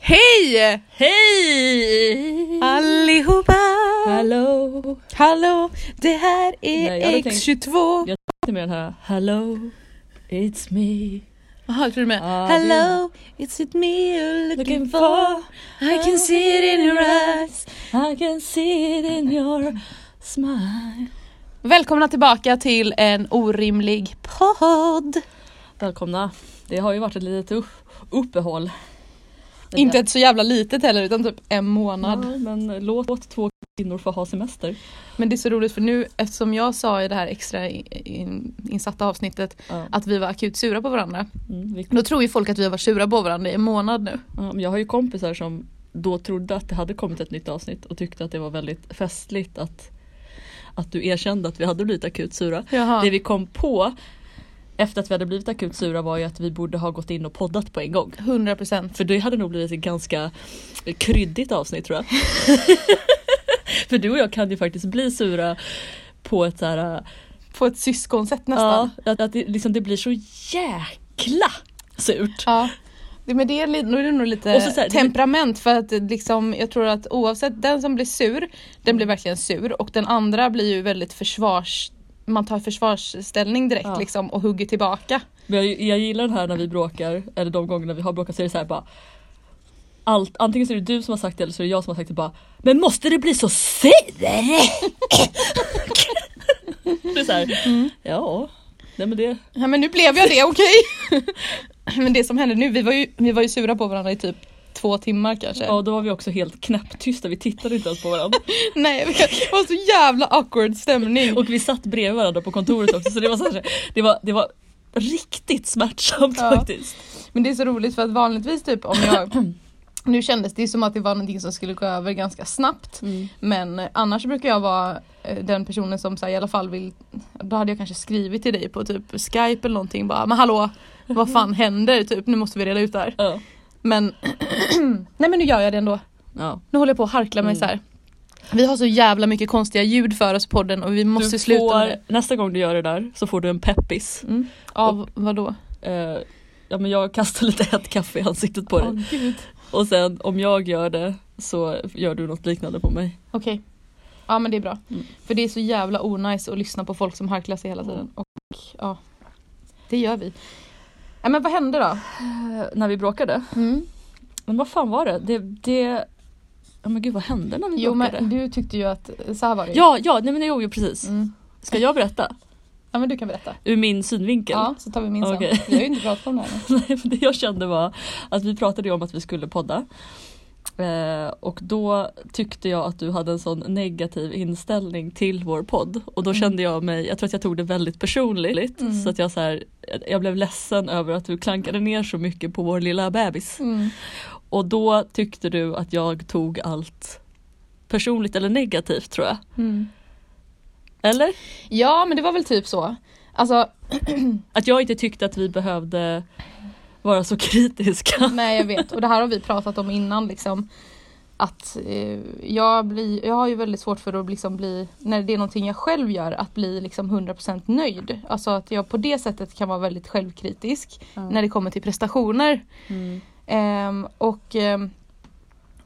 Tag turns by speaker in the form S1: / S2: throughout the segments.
S1: Hej!
S2: Hej!
S1: Allihopa!
S2: Hallå!
S1: Hallå, det här är
S2: Nej, jag hade
S1: X22.
S2: Jag tänkte med den här Hello, it's me
S1: Jaha, tror du med?
S2: Ja,
S1: Hello, it's it me you're looking
S2: looking
S1: for.
S2: for
S1: I can see it in your eyes.
S2: I can see it in your smile
S1: Välkomna tillbaka till en orimlig podd.
S2: Välkomna! Det har ju varit ett litet upp- uppehåll.
S1: Inte ett så jävla litet heller utan typ en månad.
S2: Nej, men låt, låt två kvinnor få ha semester.
S1: Men det är så roligt för nu eftersom jag sa i det här extra in, in, insatta avsnittet
S2: Ja.
S1: att vi var akut sura på varandra.
S2: Mm, vi,
S1: Då tror ju folk att vi har varit sura på varandra i en månad nu.
S2: ja, men jag har ju kompisar som då trodde att det hade kommit ett nytt avsnitt och tyckte att det var väldigt festligt att, att du erkände att vi hade blivit akut sura.
S1: Jaha.
S2: Det vi kom på efter att vi hade blivit akut sura var ju att vi borde ha gått in och poddat på en gång.
S1: 100 procent.
S2: För det hade nog blivit ett ganska kryddigt avsnitt tror jag. För du och jag kan ju faktiskt bli sura på ett såhär,
S1: På ett syskonsätt nästan.
S2: ja, att, att det, liksom, det blir så jäkla surt.
S1: Ja. Det- Men det är, li- nu är det nog lite
S2: Och så så här, det-
S1: temperament för att det liksom, jag tror att oavsett den som blir sur, den blir verkligen sur och den andra blir ju väldigt försvars... Man tar försvarsställning direkt
S2: Ja.
S1: liksom och hugger tillbaka.
S2: Men jag, jag gillar den här när vi bråkar, eller de gångerna vi har bråkat så är det såhär bara allt, antingen så är det du som har sagt det eller så är det jag som har sagt det bara Men måste det bli så sur? det är såhär, ja, nej men det
S1: Ja men nu blev jag det, okej? men det som hände nu, vi var, ju, vi var ju sura på varandra i typ två timmar kanske.
S2: Ja då var vi också helt knäpptysta, vi tittade inte ens på varandra.
S1: Nej, det var så jävla awkward stämning.
S2: Och vi satt bredvid varandra på kontoret också så det var, så här, det var, det var riktigt smärtsamt
S1: Ja.
S2: faktiskt.
S1: Men det är så roligt för att vanligtvis typ om jag Nu kändes det som att det var någonting som skulle gå över ganska snabbt. Men eh, annars brukar jag vara eh, den personen som så här, i alla fall vill Då hade jag kanske skrivit till dig på typ skype eller någonting bara Men hallå vad fan händer typ nu måste vi reda ut det här.
S2: Ja.
S1: Men Nej men nu gör jag det ändå.
S2: Ja.
S1: Nu håller jag på att harkla mig
S2: Mm.
S1: så här. Vi har så jävla mycket konstiga ljud för oss i podden och vi måste
S2: Du
S1: sluta med det.
S2: får, nästa gång du gör det där så får du en peppis.
S1: Mm. Av vadå?
S2: Eh, ja men jag kastar lite hett kaffe i ansiktet på
S1: Åh
S2: dig.
S1: gud.
S2: Och sen om jag gör det så gör du något liknande på mig.
S1: Okej. Ja men det är bra.
S2: Mm.
S1: För det är så jävla onajs att lyssna på folk som harklar sig hela tiden. Och ja, det gör vi. Ja, men vad hände då?
S2: Eh, när vi bråkade. Men vad fan var det? Det, det... Ja men gud vad hände när vi
S1: Jo
S2: bråkade?
S1: men du tyckte ju att så här var det. ju.
S2: Ja, ja, nej men jo, jo precis.
S1: Mm.
S2: Ska jag berätta?
S1: Ja men du kan berätta.
S2: Ur min synvinkel?
S1: Ja så tar vi min sen.
S2: Okej.
S1: Vi har ju inte pratat om det här nu.
S2: Nej, men det jag kände var att vi pratade ju om att vi skulle podda. Eh, och då tyckte jag att du hade en sån negativ inställning till vår podd. Och då
S1: Mm.
S2: kände jag mig, jag tror att jag tog det väldigt personligt.
S1: Mm.
S2: Så att jag, så här, jag blev ledsen över att du klankade ner så mycket på vår lilla bebis.
S1: Mm.
S2: Och då tyckte du att jag tog allt personligt eller negativt tror jag.
S1: Mm.
S2: Eller?
S1: Ja men det var väl typ så. Alltså
S2: Att jag inte tyckte att vi behövde vara så kritiska.
S1: nej jag vet och det här har vi pratat om innan liksom. Att eh, jag, blir, jag har ju väldigt svårt för att liksom bli, när det är någonting jag själv gör, att bli liksom 100% nöjd. Alltså att jag på det sättet kan vara väldigt självkritisk. när det kommer till prestationer.
S2: Mm.
S1: Ehm, och ehm,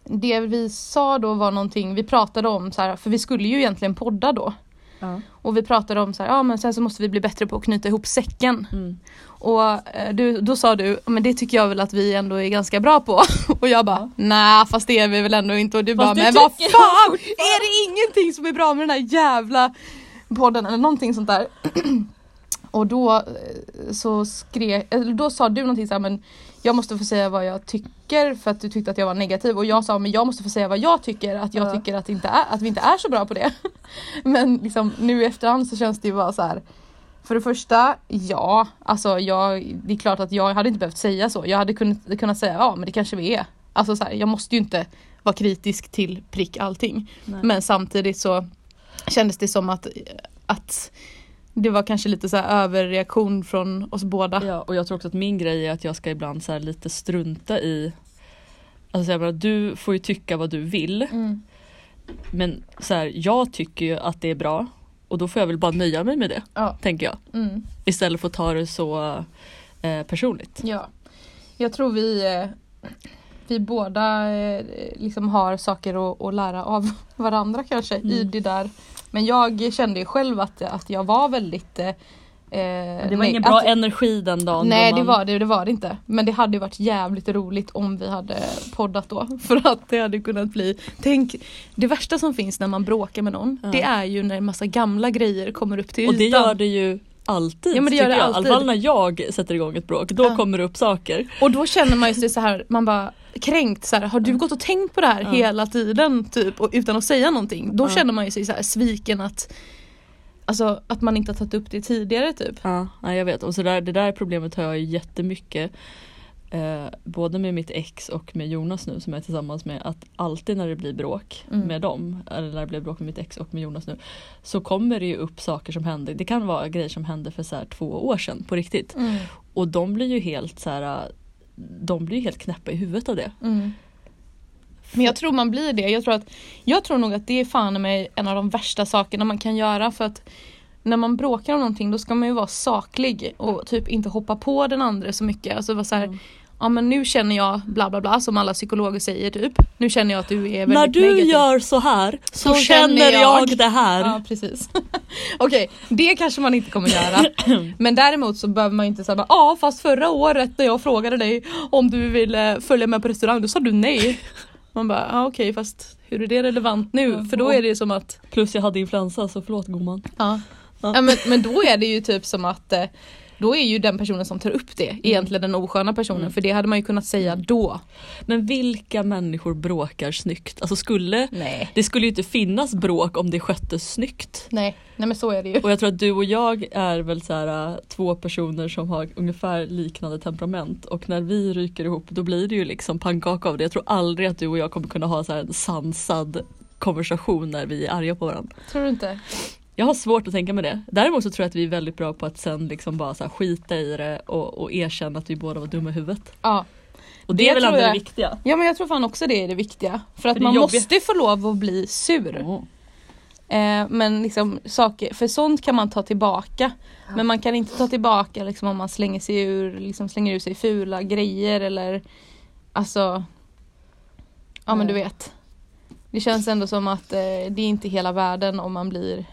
S1: det vi sa då var någonting vi pratade om, så här, för vi skulle ju egentligen podda då.
S2: Ja.
S1: Och vi pratade om så här, ja men sen så måste vi bli bättre på att knyta ihop säcken.
S2: Mm.
S1: Och eh, du, då sa du, men det tycker jag väl att vi ändå är ganska bra på. Och jag bara, nej fast det är vi väl ändå inte. Och du
S2: Fast
S1: bara,
S2: det
S1: men vad
S2: tycker jag
S1: fan är det ingenting som är bra med den här jävla podden eller någonting sånt där. Och då eh, så skrev, eller då sa du någonting så här, men jag måste få säga vad jag tycker för att du tyckte att jag var negativ och jag sa men jag måste få säga vad jag tycker att jag
S2: Ja.
S1: tycker att, det inte är, att vi inte är så bra på det. Men liksom nu i efterhand så känns det ju bara så här. För det första, ja, alltså jag, det är klart att jag hade inte behövt säga så. Jag hade kunnat, kunnat säga ja men det kanske vi är. Alltså så här, jag måste ju inte vara kritisk till prick allting.
S2: Nej.
S1: Men samtidigt så kändes det som att, att det var kanske lite så här överreaktion från oss båda.
S2: Ja, och jag tror också att min grej är att jag ska ibland så här lite strunta i Alltså jag bara, du får ju tycka vad du vill
S1: Mm.
S2: men så här, jag tycker ju att det är bra och då får jag väl bara nöja mig med det
S1: Ja.
S2: tänker jag.
S1: Mm.
S2: Istället för att ta det så eh, personligt.
S1: ja. Jag tror vi eh, vi båda eh, liksom har saker att, att lära av varandra kanske i
S2: Mm.
S1: det där. Men jag kände ju själv att, att jag var väldigt... Eh,
S2: Det var
S1: nej,
S2: ingen bra
S1: att,
S2: energi den dagen.
S1: Nej
S2: då
S1: det
S2: man-
S1: var det, det var det inte. Men det hade ju varit jävligt roligt om vi hade poddat då. För att det hade kunnat bli, tänk det värsta som finns när man bråkar med någon
S2: Ja.
S1: det är ju när en massa gamla grejer kommer upp till
S2: Och det
S1: ytan.
S2: gör det ju alltid.
S1: Ja, men det gör
S2: tycker
S1: det
S2: jag.
S1: alltid.
S2: I alla fall när jag sätter igång ett bråk, då
S1: Ja.
S2: kommer det upp saker.
S1: Och då känner man ju sig så här, man bara kränkt så här, har du gått och tänkt på det här
S2: Ja.
S1: hela tiden typ och utan att säga någonting. Då
S2: Ja.
S1: känner man ju sig så här sviken att Alltså att man inte har tagit upp det tidigare typ.
S2: Ja, ja, jag vet. Och så där, det där problemet har jag ju jättemycket. Eh, både med mitt ex och med Jonas nu som jag är tillsammans med. Att alltid när det blir bråk
S1: Mm.
S2: med dem, eller när det blir bråk med mitt ex och med Jonas nu. Så kommer det ju upp saker som hände. Det kan vara grejer som hände för så här två år sedan på riktigt. Och de blir ju helt så här, de blir ju helt knäppa i huvudet av det.
S1: Mm. Men jag tror man blir det. Jag tror, att, jag tror nog att det är fan mig en av de värsta sakerna man kan göra för att när man bråkar om någonting då ska man ju vara saklig och typ inte hoppa på den andra så mycket. Alltså vara så här,
S2: Mm.
S1: ja men nu känner jag bla bla bla som alla psykologer säger typ. Nu känner jag att du är väldigt
S2: När du
S1: negativ.
S2: gör så här så,
S1: Så
S2: känner
S1: känner
S2: jag,
S1: jag.
S2: det här.
S1: Ja precis. Okej, det kanske man inte kommer göra. Men däremot så behöver man ju inte säga bara ja fast förra året när jag frågade dig om du ville följa med på restaurang då sa du nej. Man bara ja okej fast hur är det relevant nu? För då är det ju som att
S2: Plus jag hade influensa så förlåt gumman.
S1: ja.
S2: Ja.
S1: ja men, men då är det ju typ som att eh, då är ju den personen som tar upp det egentligen den osköna personen för det hade man ju kunnat säga då.
S2: Men vilka människor bråkar snyggt? Alltså skulle,
S1: Nej.
S2: det skulle ju inte finnas bråk om det sköttes snyggt.
S1: Nej, nej men så är det ju.
S2: Och jag tror att du och jag är väl så här, äh, två personer som har ungefär liknande temperament och när vi ryker ihop då blir det ju liksom pannkaka av det. Jag tror aldrig att du och jag kommer kunna ha så här en sansad konversation när vi är arga på varandra.
S1: Tror du inte?
S2: Jag har svårt att tänka mig det. Däremot så tror jag att vi är väldigt bra på att sen liksom bara så här skita i det och, och erkänna att vi båda var dumma i huvudet.
S1: Ja.
S2: Och det,
S1: Det
S2: är väl
S1: tror
S2: ändå det
S1: jag.
S2: viktiga.
S1: Ja men jag tror fan också det är det viktiga. För att
S2: För det
S1: man
S2: jobbiga-
S1: måste få lov att bli sur. Eh, men liksom saker, för sånt kan man ta tillbaka. Men man kan inte ta tillbaka liksom, om man slänger, sig ur, liksom, slänger ur sig fula grejer eller alltså Ja men du
S2: Nej.
S1: vet. Det känns ändå som att eh, det är inte hela världen om man blir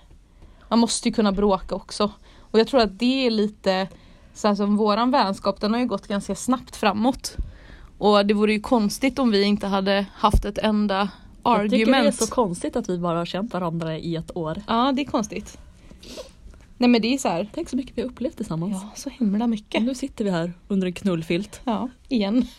S1: Man måste ju kunna bråka också. Och jag tror att det är lite så här som våran vänskap den har ju gått ganska snabbt framåt. Och det vore ju konstigt om vi inte hade haft ett enda
S2: Jag tycker det är
S1: argument.
S2: så konstigt att vi bara har känt varandra i ett år.
S1: Ja det är konstigt. Nej men det är så här.
S2: Tänk så mycket vi har upplevt tillsammans.
S1: Ja Mm. så himla
S2: Och
S1: mycket.
S2: nu sitter vi här under en knullfilt.
S1: Ja igen.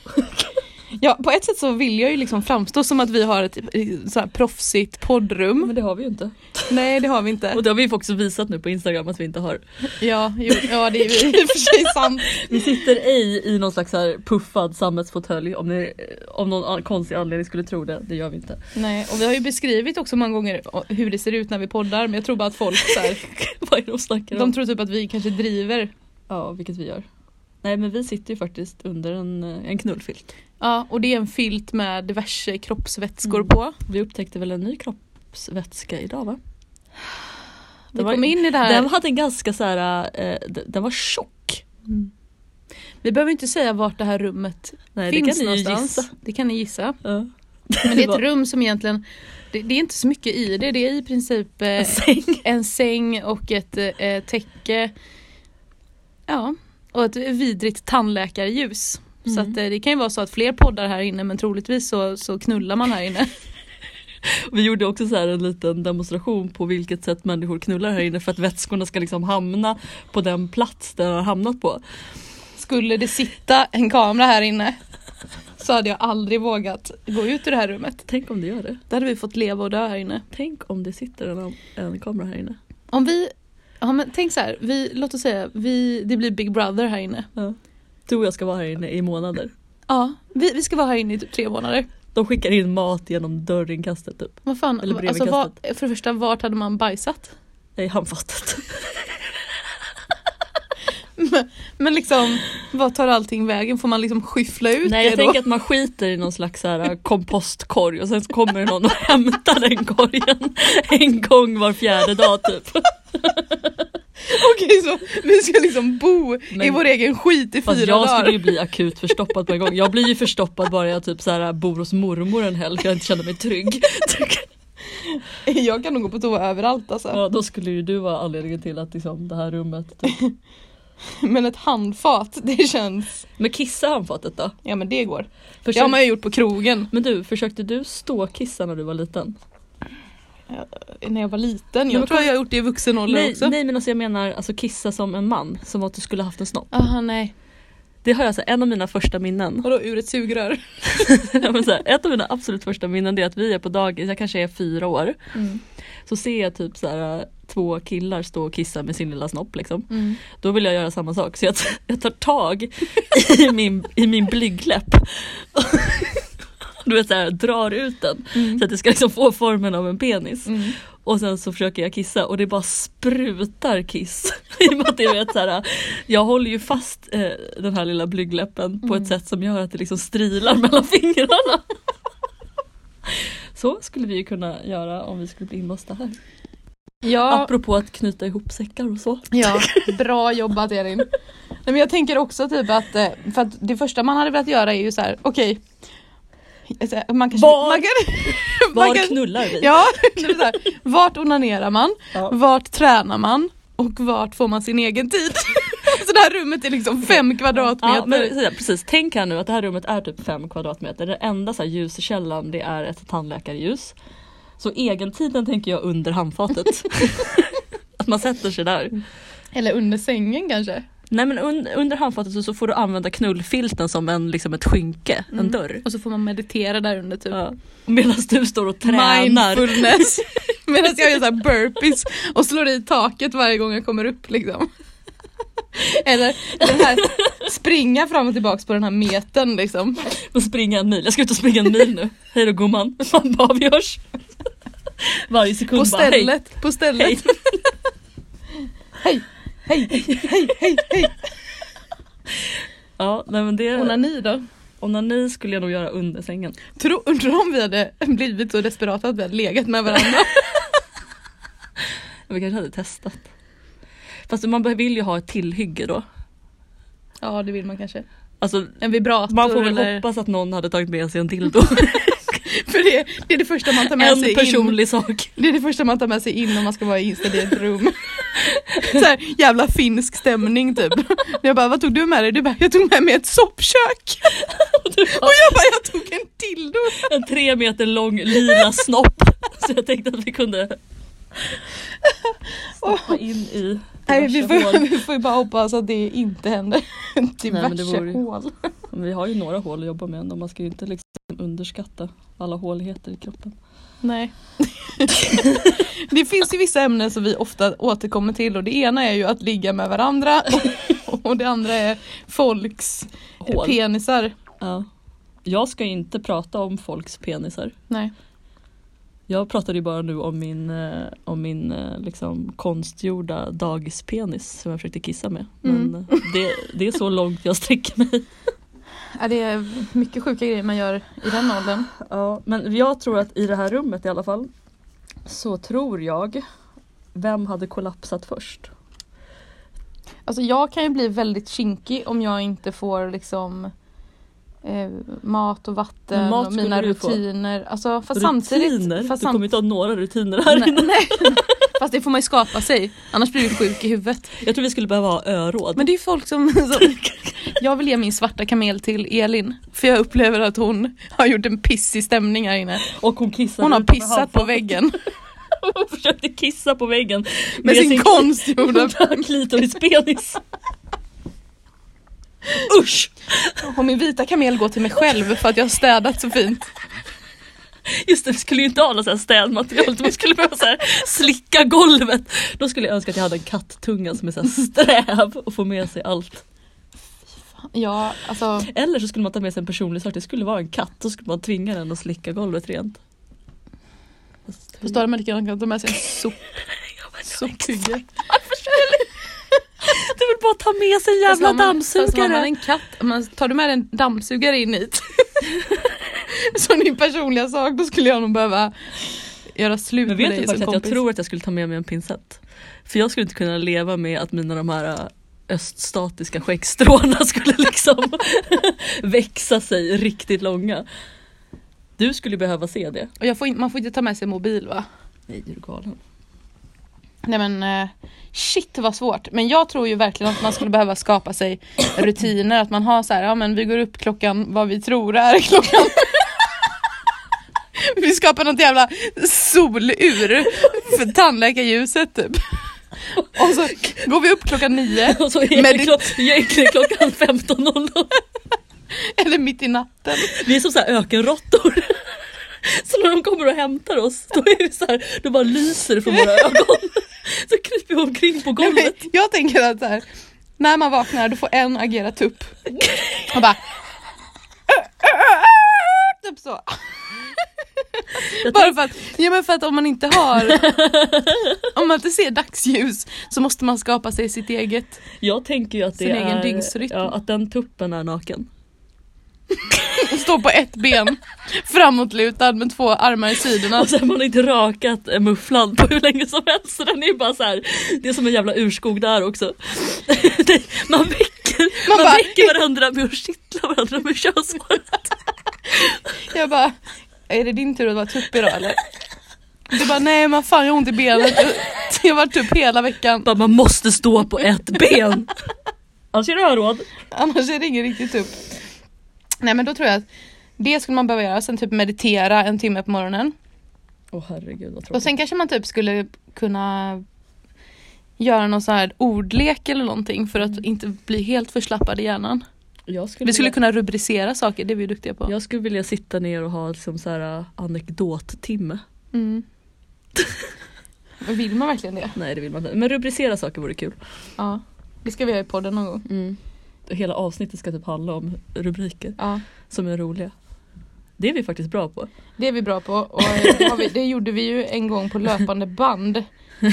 S1: Ja på ett sätt så vill jag ju liksom framstå som att vi har ett eh, så här proffsigt poddrum.
S2: Men det har vi ju inte.
S1: Nej det har vi inte.
S2: Mm. Och det har vi ju faktiskt visat nu på Instagram att vi inte har.
S1: Ja, jo, ja det är ju i och för sig sant.
S2: Vi sitter ej i någon slags så här puffad sammetsfåtölj om, ni- om någon an- konstig anledning skulle tro det. Det gör vi inte.
S1: Nej och vi har ju beskrivit också många gånger hur det ser ut när vi poddar men jag tror bara att folk så här,
S2: Vad är det de snackar om?
S1: de tror typ att vi kanske driver.
S2: Ja, vilket vi gör. Nej men vi sitter ju faktiskt under en, eh, en knullfilt.
S1: Ja och det är en filt med diverse kroppsvätskor
S2: Mm.
S1: på.
S2: Vi upptäckte väl en ny kroppsvätska idag va?
S1: Vi
S2: Det var-
S1: kom in i det här.
S2: Den hade en ganska så här, eh, d- den var tjock.
S1: Mm. Vi behöver inte säga vart det här rummet
S2: Nej,
S1: finns
S2: det kan ni ju
S1: någonstans.
S2: gissa.
S1: Det kan ni gissa.
S2: Ja.
S1: Men det är
S2: var-
S1: ett rum som egentligen, det, det är inte så mycket i det. Det är i princip eh,
S2: En säng.
S1: en säng och ett eh, täcke. Ja, och ett vidrigt tandläkarljus. Så
S2: Mm.
S1: att, eh, det kan ju vara så att fler poddar här inne men troligtvis så, så knullar man här inne.
S2: Vi gjorde också så här en liten demonstration på vilket sätt människor knullar här inne för att vätskorna ska liksom hamna på den plats den har hamnat på.
S1: Skulle det sitta en kamera här inne så hade jag aldrig vågat gå ut ur det här rummet.
S2: Tänk om det gör det.
S1: Då hade vi fått leva och dö här inne.
S2: Tänk om det sitter en, en kamera här inne.
S1: Om vi, ja men tänk så här, vi, låt oss säga, vi, det blir Big Brother här inne.
S2: Ja. Du och jag ska vara här inne i månader.
S1: Ja, vi, vi ska vara här inne i typ tre månader.
S2: De skickar in mat genom dörrinkastet typ. upp.
S1: Vad fan,
S2: Eller brev i
S1: alltså, vad, för det första vart hade man bajsat?
S2: I handfatet.
S1: Men liksom, vad tar allting vägen? Får man liksom skyffla ut
S2: Nej jag
S1: det
S2: tänker att man skiter i någon slags så här kompostkorg och sen så kommer det någon och hämtar den korgen en gång var fjärde dag typ.
S3: Okej så vi ska liksom bo i
S2: Men-
S3: vår egen skit i
S2: Fast
S3: fyra
S2: jag skulle ju
S3: dagar.
S2: bli akut förstoppad på en gång. Jag blir ju förstoppad bara jag typ så här bor hos mormor en helg för jag inte känner mig trygg.
S1: Jag kan nog gå på toa överallt alltså.
S2: Ja, då skulle ju du vara anledningen till att liksom, det här rummet. Typ.
S1: Men ett handfat, det känns...
S2: Men kissa handfatet då?
S1: Ja men det går. Det
S2: Försök...
S1: har man ju gjort på krogen.
S2: Men du, försökte du stå kissa när du var liten?
S1: När jag var liten.
S2: Nej,
S1: Jag
S2: men
S1: tror jag har gjort det i vuxen ålder
S2: Nej,
S1: också.
S2: nej men alltså jag menar alltså, kissa som en man, som att du skulle haft en snopp.
S1: Aha, nej.
S2: Det har jag alltså, en av mina första minnen.
S1: Vadå ur ett sugrör?
S2: Ja, men så här, ett av mina absolut första minnen det är att vi är på dagis, jag kanske är fyra år. Så ser jag typ så här, äh, två killar stå och kissa med sin lilla snopp liksom.
S1: Mm.
S2: Då vill jag göra samma sak så jag, t- jag tar tag i min, i min blygdläpp. Du vet såhär, drar ut den så att det ska liksom få formen av en penis.
S1: Mm.
S2: Och sen så försöker jag kissa och det bara sprutar kiss. I och med att jag, vet, så här, jag håller ju fast eh, den här lilla blygdläppen på
S1: Mm.
S2: ett sätt som gör att det liksom strilar mellan fingrarna. Så skulle vi ju kunna göra om vi skulle bli inlåsta här.
S1: Ja,
S2: Apropå att knyta ihop säckar och så.
S1: ja, bra jobbat Elin. Nej, men jag tänker också typ att, eh, för att det första man hade velat göra är ju så här, okej. så här, Man kanske,
S2: Var-
S1: man kan, man
S2: Var
S1: kan,
S2: knullar vi?
S1: ja, det är så här, vart onanerar man?
S2: Ja.
S1: Vart tränar man? Och vart får man sin egen tid? Så det här rummet är liksom fem kvadratmeter.
S2: Ja, men, så här, precis. Tänk här nu att det här rummet är typ 5 kvadratmeter. Den enda så här, ljuskällan det är ett tandläkarljus. Så egentiden tänker jag under handfatet. att man sätter sig där.
S1: Eller under sängen kanske.
S2: Nej men un under handfatet så, så får du använda knullfilten som en, liksom ett skynke, en dörr.
S1: Och så får man meditera där under typ.
S2: Ja. Medan du står och tränar.
S1: Mindfulness. Medan jag gör så här burpees och slår i taket varje gång jag kommer upp liksom. Eller den här springa fram och tillbaks på den här meten liksom.
S2: Och springa en mil. Jag ska ut och springa en mil nu. Hej då gumman. Man bara avgörs. Varje sekund
S1: På
S2: bara hej.
S1: stället, på stället. Hej, hej, hej, hej, hej.
S2: Ja, nej men det...
S1: Onani då?
S2: Onani skulle jag nog göra under sängen.
S1: Tro, undrar om vi hade blivit så desperata att vi hade legat med varandra.
S2: Men Vi kanske hade testat. Fast man be- vill ju ha ett tillhygge då.
S1: Ja det vill man kanske.
S2: Alltså,
S1: En vibrator
S2: man får väl
S1: eller...
S2: hoppas att någon hade tagit med sig en dildo.
S1: För det, det är det första man tar med sig
S2: en
S1: in.
S2: personlig sak.
S1: Det är det första man tar med sig in om man ska vara inställd i ett rum. Så här, jävla finsk stämning typ. Jag bara, vad tog du med dig? Du bara, jag tog med mig ett soppkök. Och jag bara, jag tog en dildo.
S2: En tre meter lång lila snopp. Så jag tänkte att vi kunde stoppa in i
S1: Nej, vi,
S2: diverse hål.
S1: får, vi får ju bara hoppas att det inte händer. Diverse
S2: men det vore ju-
S1: hål.
S2: Men Vi har ju några hål att jobba med ändå. Man ska ju inte liksom underskatta alla håligheter i kroppen.
S1: Nej. det finns ju vissa ämnen som vi ofta återkommer till och det ena är ju att ligga med varandra och, och det andra är folks
S2: Hål.
S1: penisar.
S2: Ja. Jag ska inte prata om folks penisar.
S1: Nej.
S2: Jag pratade ju bara nu om min, eh, om min eh, liksom, konstgjorda dagispenis som jag försökte kissa med. Men eh,
S1: Mm.
S2: det, det är så långt jag sträcker mig.
S1: Ja, det är mycket sjuka grejer man gör i den åldern.
S2: Ja, men jag tror att i det här rummet i alla fall så tror jag vem hade kollapsat först?
S1: Alltså jag kan ju bli väldigt kinkig om jag inte får liksom eh, mat och vatten
S2: Men mat
S1: och
S2: skulle
S1: mina
S2: du få.
S1: rutiner. Alltså, fast
S2: rutiner?
S1: samtidigt. Fast,
S2: du kommer
S1: sam-
S2: inte ha några rutiner här
S1: nej,
S2: inne.
S1: nej. fast det får man ju skapa sig. Annars blir du sjuk i huvudet.
S2: Jag tror vi skulle behöva ha öråd.
S1: Men det är ju folk som, som... Jag vill ge min svarta kamel till Elin. För jag upplever att hon har gjort en pissig stämning här inne.
S2: Och hon kissade
S1: Hon har
S2: utanför
S1: pissat på
S2: handfatet.
S1: väggen.
S2: Hon försökte kissa på väggen
S1: Med sin konstgjorda...
S2: klitorispenis. Usch!
S1: Och min vita kamel går till mig själv för att jag har städat så fint.
S2: Just det, vi skulle ju inte ha något så här städmaterial utan man skulle behöva så här slicka golvet. Då skulle jag önska att jag hade en kattunga som är så här sträv och får med sig allt.
S1: Ja, alltså...
S2: Eller så skulle man ta med sig en personlig sak, det skulle vara en katt. Då skulle man tvinga den att slicka golvet rent.
S1: Förstår du? Man lika gärna kan ta med sig en sop, sophygge.
S2: Du vill bara ta med sig en
S1: Fast
S2: jävla
S1: har man- Fast har man
S2: dammsugare.
S1: en katt, om man, tar du med en dammsugare in hit som din personliga sak då skulle jag nog behöva
S3: göra slut
S2: Men
S3: med
S2: vet du
S3: dig som
S2: faktiskt att jag
S3: kompis.
S2: tror att jag skulle ta med mig en pincett. För jag skulle inte kunna leva med att mina de här äh, öststatiska skäggstråna skulle liksom växa sig riktigt långa. Du skulle behöva se det.
S3: Och jag får in, man får inte ta med sig mobil va?
S2: Nej, är du galen?
S3: Nej men eh, shit vad svårt. Men jag tror ju verkligen att man skulle behöva skapa sig rutiner. Att man har så här, ja men vi går upp klockan vad vi tror är klockan. vi skapar något jävla solur för tandläkarljuset typ. Och så går vi upp klockan nio
S2: Och så är
S3: Men
S2: det
S3: det-
S2: klo- egentligen klockan 15.00.
S3: eller mitt i natten.
S2: Vi är som så här ökenråttor. Så när de kommer och hämtar oss, då är det så här, då bara lyser det från våra ögon. Så kryper vi omkring på
S3: Nej,
S2: golvet.
S3: men jag tänker att så här, när man vaknar då får en agera tupp. Och bara Typ så.
S2: Jag
S3: Bara för att, ja men för att om man inte har, om man inte ser dagsljus så måste man skapa sig sitt eget.
S2: Jag tänker ju att det
S3: Sin egen
S2: är
S3: dygnsrytm.
S2: ja, att den tuppen är naken.
S3: Stå på ett ben, framåtlutad med två armar i sidorna.
S2: Och sen man har inte rakat eh, mufflan på hur länge som helst så den är ju bara så här. Det är som en jävla urskog där också. Det- man väcker, man
S3: Man bara-
S2: väcker varandra med att kittla varandra med könshåret.
S3: Jag bara, är det din tur att vara tupp idag eller? Du bara, nej men fan jag har ont i benet. Jag har varit tupp hela veckan.
S2: Bara, Man måste stå på ett ben.
S3: Alltså,
S2: Annars är det öråd.
S3: Annars är det ingen riktig tupp. Nej men då tror jag att det skulle man behöva göra, sen typ meditera en timme på morgonen.
S2: Åh herregud vad tråkigt.
S3: Och sen kanske man typ skulle kunna göra någon sån här ordlek eller någonting för att inte bli helt förslappad i hjärnan.
S2: jag skulle
S3: Vi Mm. skulle
S2: vilja-
S3: kunna rubricera saker, det är vi duktiga på.
S2: Jag skulle vilja sitta ner och ha liksom så här äh, anekdottimme.
S3: Mm. Men Vill man verkligen det?
S2: Nej det vill man inte. Men rubricera saker vore kul.
S3: Ja. Det ska vi göra i podden någon gång.
S2: Hela avsnittet ska typ handla om rubriker
S3: Ja.
S2: som är roliga. Det är vi faktiskt bra på.
S1: Det är vi bra på och eh, det, har vi, det gjorde vi ju en gång på löpande band.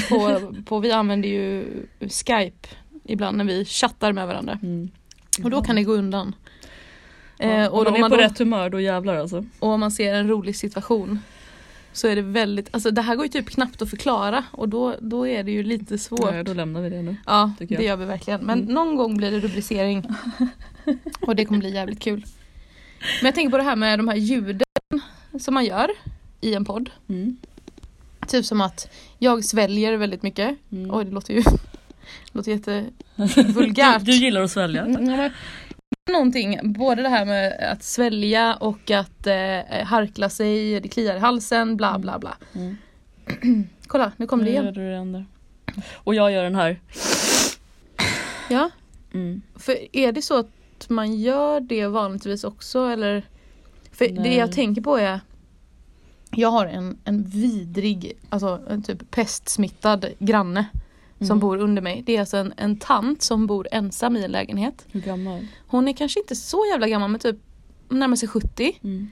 S1: På, på, vi använder ju Skype ibland när vi chattar med varandra. Och då kan det gå undan. Eh,
S2: Mm. Ja,
S1: och,
S2: om man
S1: om
S2: är
S1: man
S2: på
S1: då,
S2: rätt humör då jävlar alltså.
S1: och om man ser en rolig situation så är det väldigt, alltså det här går ju typ knappt att förklara och då, då är det ju lite svårt.
S2: Nej, då lämnar vi det nu.
S1: Ja,
S2: tycker jag.
S1: det gör vi verkligen. Men
S2: Mm.
S1: någon gång blir det rubricering. Och det kommer bli jävligt kul. Men jag tänker på det här med de här ljuden som man gör i en podd.
S2: Mm.
S1: Typ som att jag sväljer väldigt mycket.
S2: Mm.
S1: Oj, det låter ju det låter jättevulgärt.
S2: Du, du gillar att svälja.
S1: Mm, ja, men Någonting, både det här med att svälja och att eh, harkla sig, det kliar i halsen, bla bla bla.
S2: Mm.
S1: Kolla, nu kom det
S2: Nu gör
S1: igen.
S2: du den där. Och jag gör den här.
S1: Ja.
S2: Mm.
S1: För är det så att man gör det vanligtvis också eller? För det
S2: Nej.
S1: jag tänker på är Jag har en, en vidrig, alltså en typ pestsmittad granne som
S2: Mm.
S1: bor under mig. Det är alltså en, en tant som bor ensam i en lägenhet.
S2: Hur gammal?
S1: Hon är kanske inte så jävla gammal men typ närmar sig 70.
S2: Mm.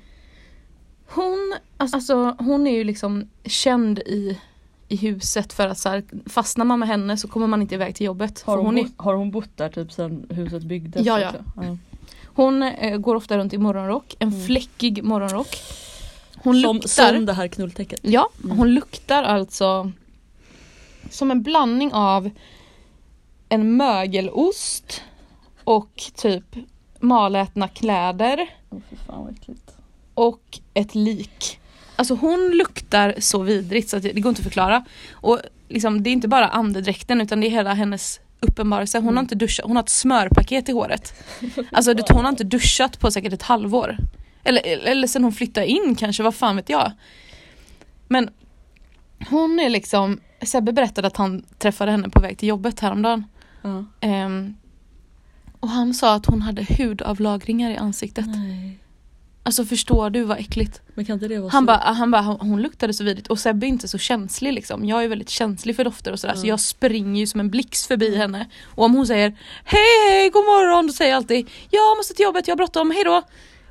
S1: Hon, alltså, hon är ju liksom känd i, i huset för att så här, fastnar man med henne så kommer man inte iväg till jobbet.
S2: Har,
S1: för
S2: hon
S1: hon är,
S2: bott, har hon bott där typ sedan huset byggdes?
S1: Ja, ja.
S2: också? ja.
S1: Hon eh, går ofta runt i morgonrock, en
S2: Mm.
S1: fläckig morgonrock. Hon
S2: Som,
S1: luktar,
S2: som det här knulltäcket.
S1: ja,
S2: Mm.
S1: hon luktar alltså som en blandning av en mögelost och typ malätna kläder
S2: Åh fy fan vad äckligt.
S1: och ett lik. Alltså hon luktar så vidrigt så att det det går inte att förklara. Och liksom, det är inte bara andedräkten utan det är hela hennes uppenbarelse. Hon har inte duschat, hon har ett smörpaket i håret. Alltså det, hon har inte duschat på säkert ett halvår. Eller, eller sen hon flyttade in kanske, vad fan vet jag. Men hon är liksom, Sebbe berättade att han träffade henne på väg till jobbet häromdagen.
S2: Ja.
S1: Ehm, och han sa att hon hade hudavlagringar i ansiktet.
S2: Nej.
S1: Alltså förstår du vad äckligt?
S2: Men kan inte det vara
S1: Han
S2: så?
S1: bara, han bara, hon hon luktade så vidrigt och Sebbe är inte så känslig liksom. Jag är väldigt känslig för dofter och sådär så
S2: Mm.
S1: jag springer ju som en blixt förbi henne. Och om hon säger hej hej god morgon då säger jag alltid jag måste till jobbet, jag har bråttom, hejdå.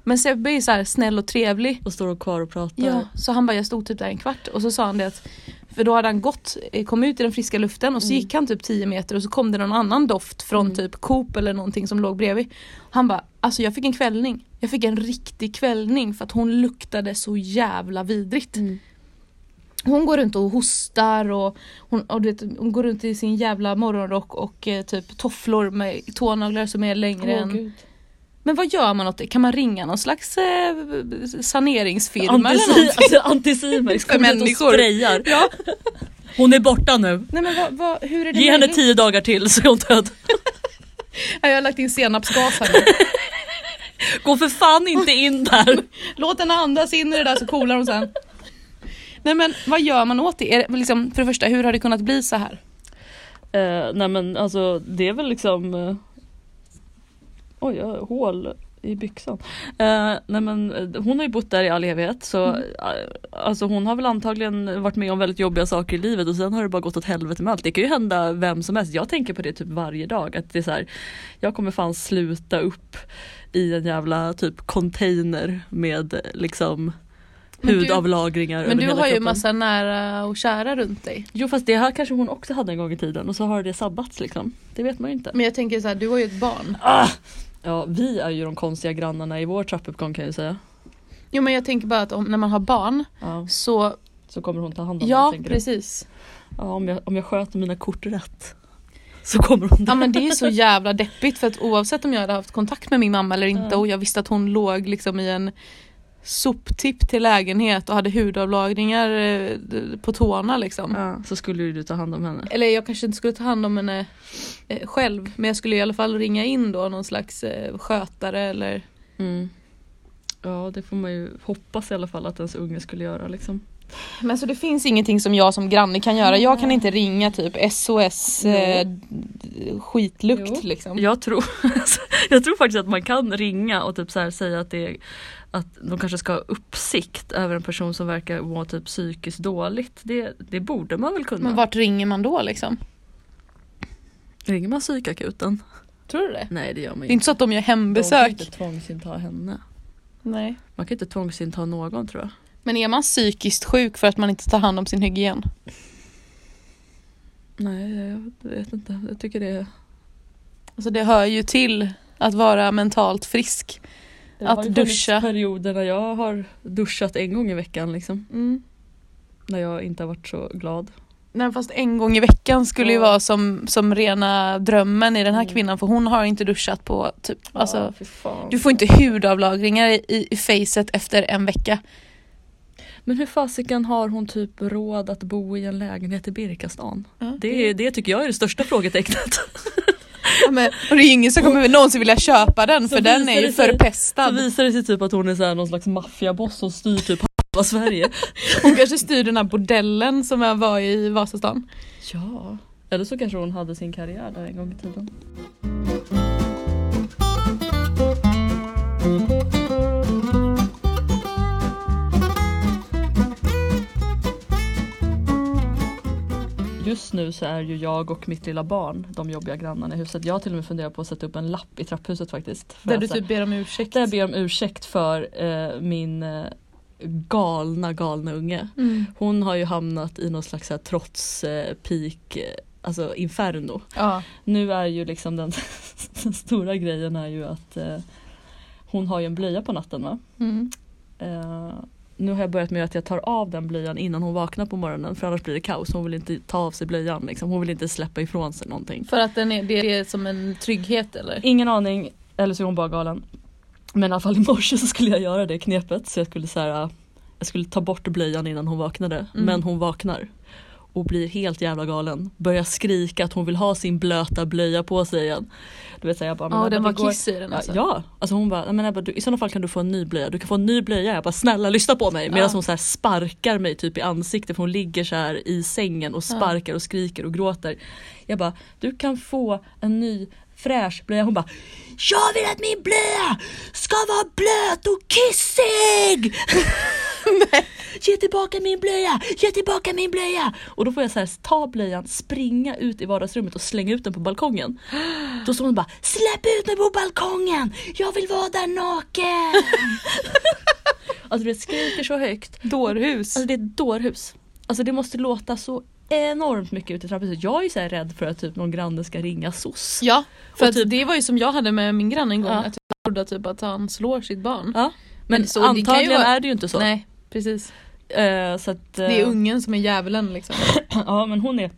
S1: Men Sebbe är så här snäll och trevlig.
S2: Och står och kvar och pratar.
S1: Ja, så han bara jag stod typ där en kvart och så sa han det att för då hade han gått, eh, kom ut i den friska luften och så
S2: Mm.
S1: gick han typ 10 meter och så kom det någon annan doft från
S2: Mm.
S1: typ Coop eller någonting som låg bredvid. Han bara alltså jag fick en kvällning. Jag fick en riktig kvällning för att hon luktade så jävla vidrigt.
S2: Mm.
S1: Hon går runt och hostar och hon, och du vet, hon går runt i sin jävla morgonrock och eh, typ tofflor med tånaglar som är längre
S2: Åh,
S1: än
S2: gud.
S1: Men vad gör man åt det? Kan man ringa någon slags eh, saneringsfirma eller
S2: Antisi-
S1: något?
S2: alltså, Antisimex
S1: För
S2: kommer hit och
S1: människor.
S2: sprayar.
S1: Ja.
S2: Hon är borta nu.
S1: Nej men vad, vad, hur är det
S2: Ge henne
S1: möjligt?
S2: tio dagar till så är hon död.
S1: Ja, Jag har lagt in senapsgas här nu.
S2: Gå för fan inte in där.
S1: Låt henne andas in i det där så coolar hon sen. Nej men vad gör man åt det? Är det liksom, för det första, hur har det kunnat bli så här?
S2: Eh, nej men alltså det är väl liksom eh, Oj, jag har hål i byxan. Eh, nej men eh, hon har ju bott där i all evighet så eh, alltså hon har väl antagligen varit med om väldigt jobbiga saker i livet och sen har det bara gått åt helvete med allt. Det kan ju hända vem som helst. Jag tänker på det typ varje dag att det är så här jag kommer fan sluta upp i en jävla typ container med liksom
S1: Men du-
S2: hudavlagringar över
S1: Men du
S2: hela
S1: har ju
S2: kroppen.
S1: massa nära och kära runt dig.
S2: Jo fast det här kanske hon också hade en gång i tiden och så har det sabbats liksom. Det vet man ju inte.
S1: Men jag tänker så här, du har ju ett barn.
S2: Ja vi är ju de konstiga grannarna i vår trappuppgång kan jag ju säga.
S1: Jo men jag tänker bara att om, när man har barn
S2: Ja,
S1: så,
S2: så kommer hon ta hand om mig
S1: ja
S2: tänker du.
S1: precis.
S2: Ja, om, jag, om jag sköter mina kort rätt så kommer hon
S1: Ja men det är så jävla deppigt för att oavsett om jag hade haft kontakt med min mamma eller inte
S2: Ja.
S1: och jag visste att hon låg liksom i en soptipp till lägenhet och hade hudavlagringar eh, d- på tårna liksom.
S2: ja, Så skulle ju du ta hand om henne.
S1: Eller jag kanske inte skulle ta hand om henne eh, själv men jag skulle i alla fall ringa in då någon slags eh, skötare eller
S2: Mm. Ja det får man ju hoppas i alla fall att ens unge skulle göra liksom.
S1: Men så det finns ingenting som jag som granne kan göra. Jag kan inte ringa typ SOS eh,
S2: Jo.
S1: d- skitlukt
S2: Jo.
S1: liksom.
S2: Jag tror, jag tror faktiskt att man kan ringa och typ så här säga att, det är, att de kanske ska ha uppsikt över en person som verkar må typ psykiskt dåligt. Det, det borde man väl kunna?
S1: Men vart ringer man då liksom?
S2: Ringer man psykakuten?
S1: Tror du det?
S2: Nej det gör man
S1: Det
S2: ju
S1: är inte så att de gör
S2: De kan
S1: hembesök.
S2: inte tvångsinta henne.
S1: Nej.
S2: Man kan inte tvångsinta någon tror jag.
S1: Men är man psykiskt sjuk för att man inte tar hand om sin hygien?
S2: Nej jag vet inte. Jag tycker det är...
S1: Alltså det hör ju till att vara mentalt frisk.
S2: Det
S1: Att
S2: har ju funnits
S1: duscha.
S2: perioder när jag har duschat en gång i veckan liksom.
S1: Mm.
S2: När jag inte har varit så glad.
S1: Nej fast en gång i veckan skulle ju
S2: Ja.
S1: vara som, som rena drömmen i den här
S2: Mm.
S1: kvinnan för hon har inte duschat på typ, alltså
S2: fy fan.
S1: du får inte hudavlagringar i, i facet efter en vecka.
S2: Men hur fasiken har hon typ råd att bo i en lägenhet i Birkastan?
S1: Ja.
S2: Det, är- det tycker jag är det största frågetecknet.
S1: Ja, men, och det är ju ingen som kommer någonsin vilja köpa den
S2: Så
S1: för den
S2: visar
S1: är ju
S2: det sig-
S1: förpestad.
S2: Så visar det sig typ att hon är så här någon slags maffiaboss som styr typ halva Sverige.
S1: Hon kanske styr den här bordellen som jag var i Vasastan.
S2: Ja. Eller så kanske hon hade sin karriär där en gång i tiden. Just nu så är ju jag och mitt lilla barn de jobbiga grannarna i huset. Jag har till och med funderat på att sätta upp en lapp i trapphuset faktiskt. För
S1: Där
S2: att
S1: du
S2: så här-
S1: typ ber om ursäkt.
S2: där jag ber om ursäkt för eh, min eh, galna, galna unge.
S1: Mm.
S2: Hon har ju hamnat i någon slags så här trots eh, peak, eh, alltså inferno.
S1: Ja.
S2: Nu är ju liksom den, den stora grejen är ju att eh, hon har ju en blöja på natten va.
S1: Mm.
S2: Eh, nu har jag börjat med att jag tar av den blöjan innan hon vaknar på morgonen för annars blir det kaos. Hon vill inte ta av sig blöjan liksom. Hon vill inte släppa ifrån sig någonting.
S1: För att den är, det är som en trygghet eller?
S2: Ingen aning, eller så är hon bara galen. Men i alla fall i morse så skulle jag göra det knepet så jag skulle så här, äh, jag skulle ta bort blöjan innan hon vaknade.
S1: Mm.
S2: Men hon vaknar och blir helt jävla galen. Börjar skrika att hon vill ha sin blöta blöja på sig igen. Du vet, så här, jag bara, men
S1: Ja,
S2: Ebba,
S1: den
S2: det
S1: var
S2: går-
S1: kiss i den alltså.
S2: Ja, ja, alltså hon bara, "Nej, men Ebba, du, i sådana fall kan du få en ny blöja. Du kan få en ny blöja. Jag bara snälla lyssna på mig. Medan
S1: Ja.
S2: hon så här sparkar mig typ i ansiktet för hon ligger så här i sängen och sparkar och skriker och gråter. Jag bara, du kan få en ny fräsch blöja. Hon bara, jag vill att min blöja ska vara blöt och kissig! Ge tillbaka min blöja! Ge tillbaka min blöja! Och då får jag så här, ta blöjan, springa ut i vardagsrummet och slänga ut den på balkongen. Då står hon bara Släpp ut mig på balkongen! Jag vill vara där naken! alltså det skriker så högt.
S1: Dårhus.
S2: Alltså det är ett dårhus. Alltså det måste låta så enormt mycket ute i trapphuset. Jag är ju så här rädd för att typ någon granne ska ringa SOS.
S1: Ja, för
S2: Och
S1: att
S2: typ-
S1: det var ju som jag hade med min granne en gång.
S2: Ja.
S1: Att jag trodde typ att han slår sitt barn.
S2: Ja, men
S1: Men så det kan ju
S2: antagligen
S1: vara-
S2: är det ju inte så.
S1: Nej, precis.
S2: Eh, så att, eh,
S4: Det är ungen som är djävulen liksom.
S2: Ja men hon är,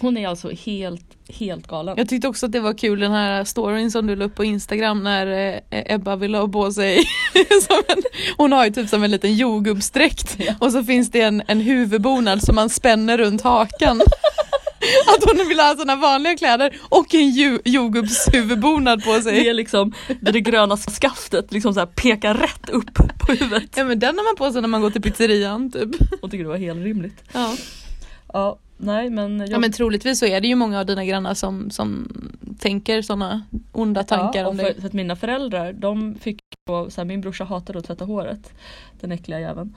S2: hon är alltså helt, helt galen.
S1: Jag tyckte också att det var kul den här storyn som du la upp på Instagram när eh, Ebba ville ha på sig som en, Hon har ju typ som en liten jordgubbsdräkt och så finns det en, en huvudbonad som man spänner runt hakan. att hon vill ha såna vanliga kläder och en ju- jordgubbshuvudbonad på
S2: Det
S1: sig.
S2: är liksom det, det gröna skaftet liksom så här pekar rätt upp på huvudet.
S1: Ja men den har man på sig när man går till pizzerian typ.
S2: Hon tycker det var helt rimligt.
S1: Ja.
S2: Ja, nej men. Jag,
S1: Ja men troligtvis så är det ju många av dina grannar som, som tänker såna onda tankar
S2: ja,
S1: om
S2: och
S1: dig.
S2: för, för att mina föräldrar, de fick då, så här, min brorsa hatade att tvätta håret. Den äckliga jäveln.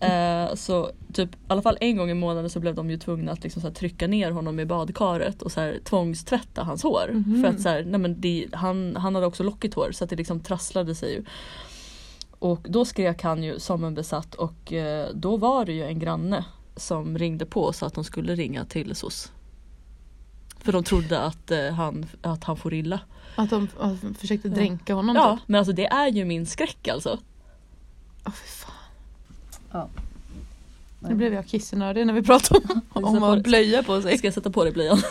S2: Eh, så typ i alla fall en gång i månaden så blev de ju tvungna att liksom, så här, trycka ner honom i badkaret och så här, tvångstvätta hans hår.
S1: Mhm.
S2: För att så här, nej, men det, han, han hade också lockigt hår så att det liksom trasslade sig ju. Och då skrek han ju som en besatt och eh, då var det ju en granne som ringde på så att de skulle ringa till SOS. För de trodde att, eh, han, att han for illa.
S4: Att de att de försökte dränka honom.
S2: Ja,
S4: typ.
S2: men alltså det är ju min skräck alltså.
S4: Åh, fy fan.
S2: Ja.
S1: Nu blev jag kissnödig när vi pratade om, om att blöja på sig.
S2: Ska jag sätta på dig blöjan?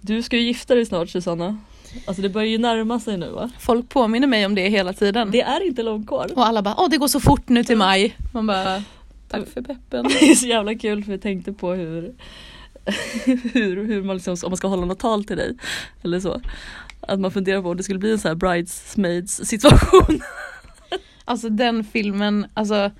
S2: Du ska ju gifta dig snart Susanna. Alltså det börjar ju närma sig nu va?
S1: Folk påminner mig om det hela tiden.
S2: Det är inte långt kvar.
S1: Och alla bara åh det går så fort nu till maj. Man bara tack för peppen.
S2: Det är så jävla kul för jag tänkte på hur, hur, hur man liksom, om man ska hålla något tal till dig eller så. Att man funderar på om det skulle bli en sån här bridesmaids situation.
S1: Alltså den filmen, alltså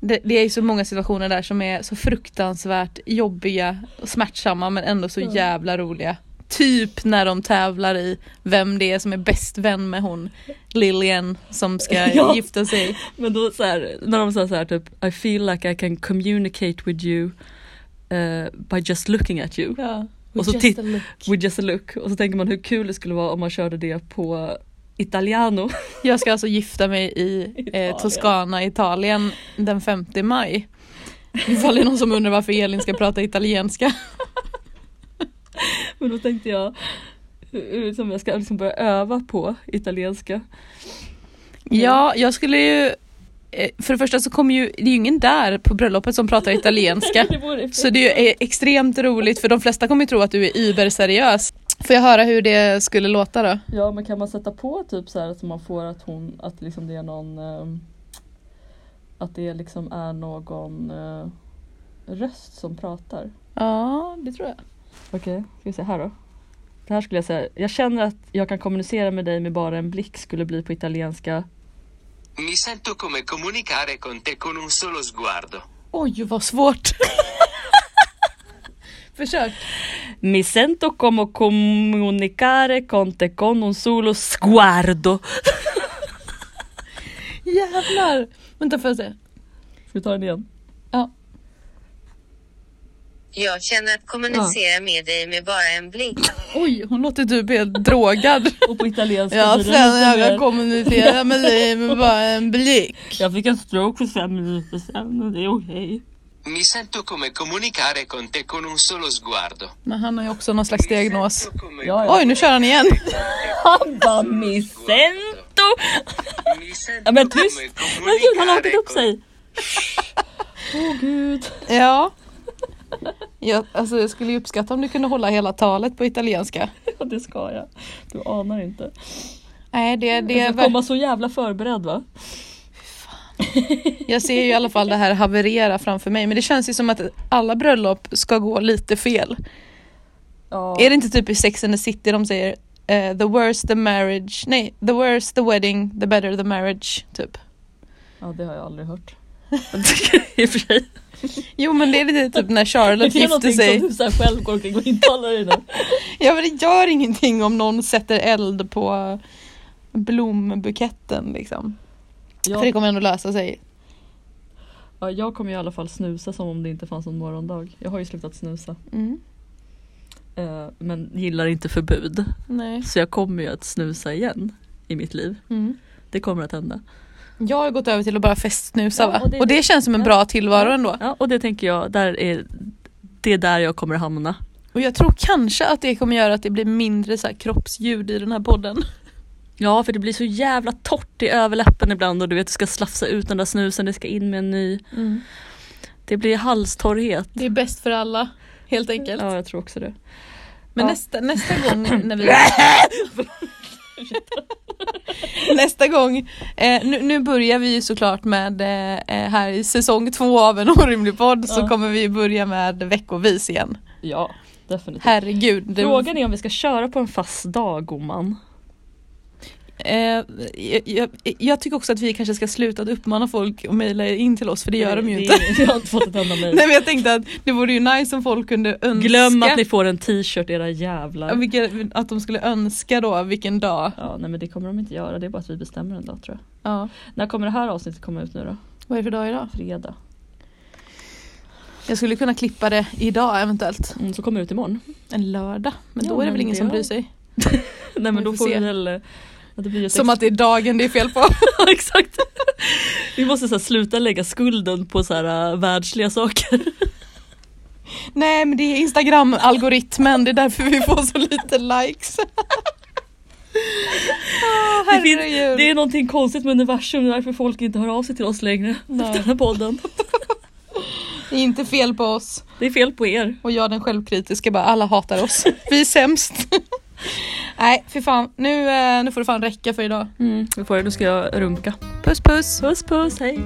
S1: det, det är ju så många situationer där som är så fruktansvärt jobbiga och smärtsamma men ändå så
S2: Ja.
S1: jävla roliga. Typ när de tävlar i vem det är som är bäst vän med hon Lillian som ska
S2: Ja.
S1: gifta sig.
S2: Men då så här, när de sa så här typ I feel like I can communicate with you eh, by just looking at you.
S1: Ja.
S2: Och så
S1: Just
S2: titt-
S1: a look.
S2: With just a look. Och så tänker man hur kul det skulle vara om man körde det på Italiano.
S1: Jag ska alltså gifta mig i eh,
S2: Italien.
S1: Toscana, Italien den 5 maj. Ifall det är någon som undrar varför Elin ska prata italienska.
S2: Men då tänkte jag hur- som jag ska liksom börja öva på italienska.
S1: Ja, jag skulle ju... eh, För det första så kommer ju, det är ju ingen där på bröllopet som pratar italienska.
S2: Det vore-
S1: Så det är ju eh, extremt roligt för de flesta kommer ju tro att du är überseriös. Får jag höra hur det skulle låta då?
S2: Ja men kan man sätta på typ så här att man får att hon, att liksom det är någon ehm, att det liksom är någon eh, röst som pratar.
S1: Ja, det tror jag.
S2: Okej, ska vi se här då. Det här skulle jag säga, jag känner att jag kan kommunicera med dig med bara en blick skulle bli på italienska.
S5: Mi sento come comunicare con te con un solo sguardo.
S1: Oj, vad svårt. Försök.
S2: Mi sento como comunicare con te con un solo sguardo.
S1: Jävlar. Vänta, får jag se?
S2: Ska vi ta den igen?
S1: Ja.
S6: Jag känner att kommunicera med dig med bara en blick.
S1: Oj, hon låter typ helt drogad.
S2: Och på italienska
S1: Ja,
S2: blir det
S1: sen
S2: lite
S1: jag kan
S2: mer-
S1: kommunicera med dig med bara en blick.
S2: Jag fick en stroke för fem minuter sedan och det är okej.
S5: Mi sento come comunicare con te con un solo sguardo.
S1: Men han har ju också någon slags
S5: Mi
S1: diagnos.
S5: sento come-
S2: Ja, ja.
S1: Oj, nu kör han igen.
S2: Han bara mi sento.
S5: Mi
S2: Ja,
S5: sento
S2: men tyst!
S5: come
S2: Men gud han har hakat
S5: comunicare
S2: upp
S5: con-
S2: sig. Åh oh, gud.
S1: Ja. Jag, alltså, jag skulle ju uppskatta om du kunde hålla hela talet på italienska.
S2: Ja, det ska jag. Du anar inte.
S1: Nej, det, det är ver-
S2: Jag ska komma så jävla förberedd va?
S1: Jag ser ju i alla fall det här haverera framför mig, men det känns ju som att alla bröllop ska gå lite fel.
S2: Ja.
S1: Är det inte typ i Sex and the City de säger eh, the worse the marriage, nej, the worse the wedding, the better the marriage, typ.
S2: ja det har jag aldrig hört. I och för sig.
S1: Jo, men det är lite typ när
S2: Det
S1: Charlotte
S2: är
S1: gifte
S2: någonting
S1: sig.
S2: som du så här själv går omkring och intalar dig nu.
S1: Ja men det gör ingenting om någon sätter eld på blombuketten liksom. För det
S2: Jag,
S1: kommer ändå lösa sig.
S2: ja, jag kommer ju i alla fall snusa som om det inte fanns någon morgondag. Jag har ju slutat snusa.
S1: Mm.
S2: Eh, Men gillar inte förbud.
S1: Nej.
S2: Så jag kommer ju att snusa igen i mitt liv.
S1: Mm.
S2: Det kommer att hända.
S1: Jag har gått över till att bara festsnusa
S2: Ja,
S1: va?
S2: och det-
S1: och det känns som en bra tillvaro ändå.
S2: Ja, och det tänker jag, där är, det är där jag kommer att hamna.
S1: Och jag tror kanske att det kommer göra att det blir mindre så här kroppsljud i den här podden.
S2: Ja för det blir så jävla torrt i överläppen ibland och du vet du ska slafsa ut den där snusen, det ska in med en ny. Det blir
S1: Mm.
S2: halstorrhet.
S1: Det är bäst för alla, helt enkelt.
S2: Ja jag tror också det.
S1: Men
S2: Ja.
S1: nästa, nästa gång när vi... nästa gång, eh, nu, nu börjar vi ju såklart med eh, eh, här i säsong två av en orimlig podd så
S2: Ja.
S1: kommer vi börja med veckovis igen.
S2: Ja definitivt.
S1: Herregud. det-
S2: Frågan är om vi ska köra på en fast dag gumman.
S1: eh, jag, jag, jag tycker också att vi kanske ska sluta att uppmana folk att mejla in till oss för det gör de ju inte.
S2: Jag har inte fått ett enda mejl.
S1: Nej men jag tänkte att det vore ju nice om folk kunde önska
S2: Glöm att ni får en t-shirt era
S1: Ja,
S2: jävlar.
S1: vilka, att de skulle önska då vilken dag.
S2: Ja, nej men det kommer de inte göra, det är bara att vi bestämmer en dag tror jag.
S1: Ja.
S2: När kommer det här avsnittet komma ut nu då?
S1: Vad är det för dag idag?
S2: Fredag.
S1: Jag skulle kunna klippa det idag eventuellt.
S2: Mm, så kommer det ut imorgon.
S1: En lördag. Men
S2: Ja,
S1: då är det
S2: men
S1: väl ingen
S2: det
S1: som
S2: gör-
S1: bryr sig.
S2: Nej men
S1: Vi
S2: då
S1: får
S2: får vi
S1: se.
S2: väl... eh, Att det blir ett
S1: Som
S2: ex-
S1: att det är dagen det är fel på.
S2: Ja, exakt. Vi måste så här, sluta lägga skulden på så här, äh, världsliga saker.
S1: Nej men det är Instagram-algoritmen, det är därför vi får så lite likes. Åh,
S2: Det, finns,
S1: herregud.
S2: det är någonting konstigt med universum, det är därför folk inte hör av sig till oss längre.
S1: Nej.
S2: Efter den här podden.
S1: det är inte fel på oss.
S2: Det är fel på er.
S1: Och jag den självkritiska bara, alla hatar oss. Vi är sämst. Nej för fan, nu, eh, nu får det fan räcka för idag.
S2: Nu får jag, nu ska jag runka.
S1: Mm. Puss puss!
S2: Puss puss, hej.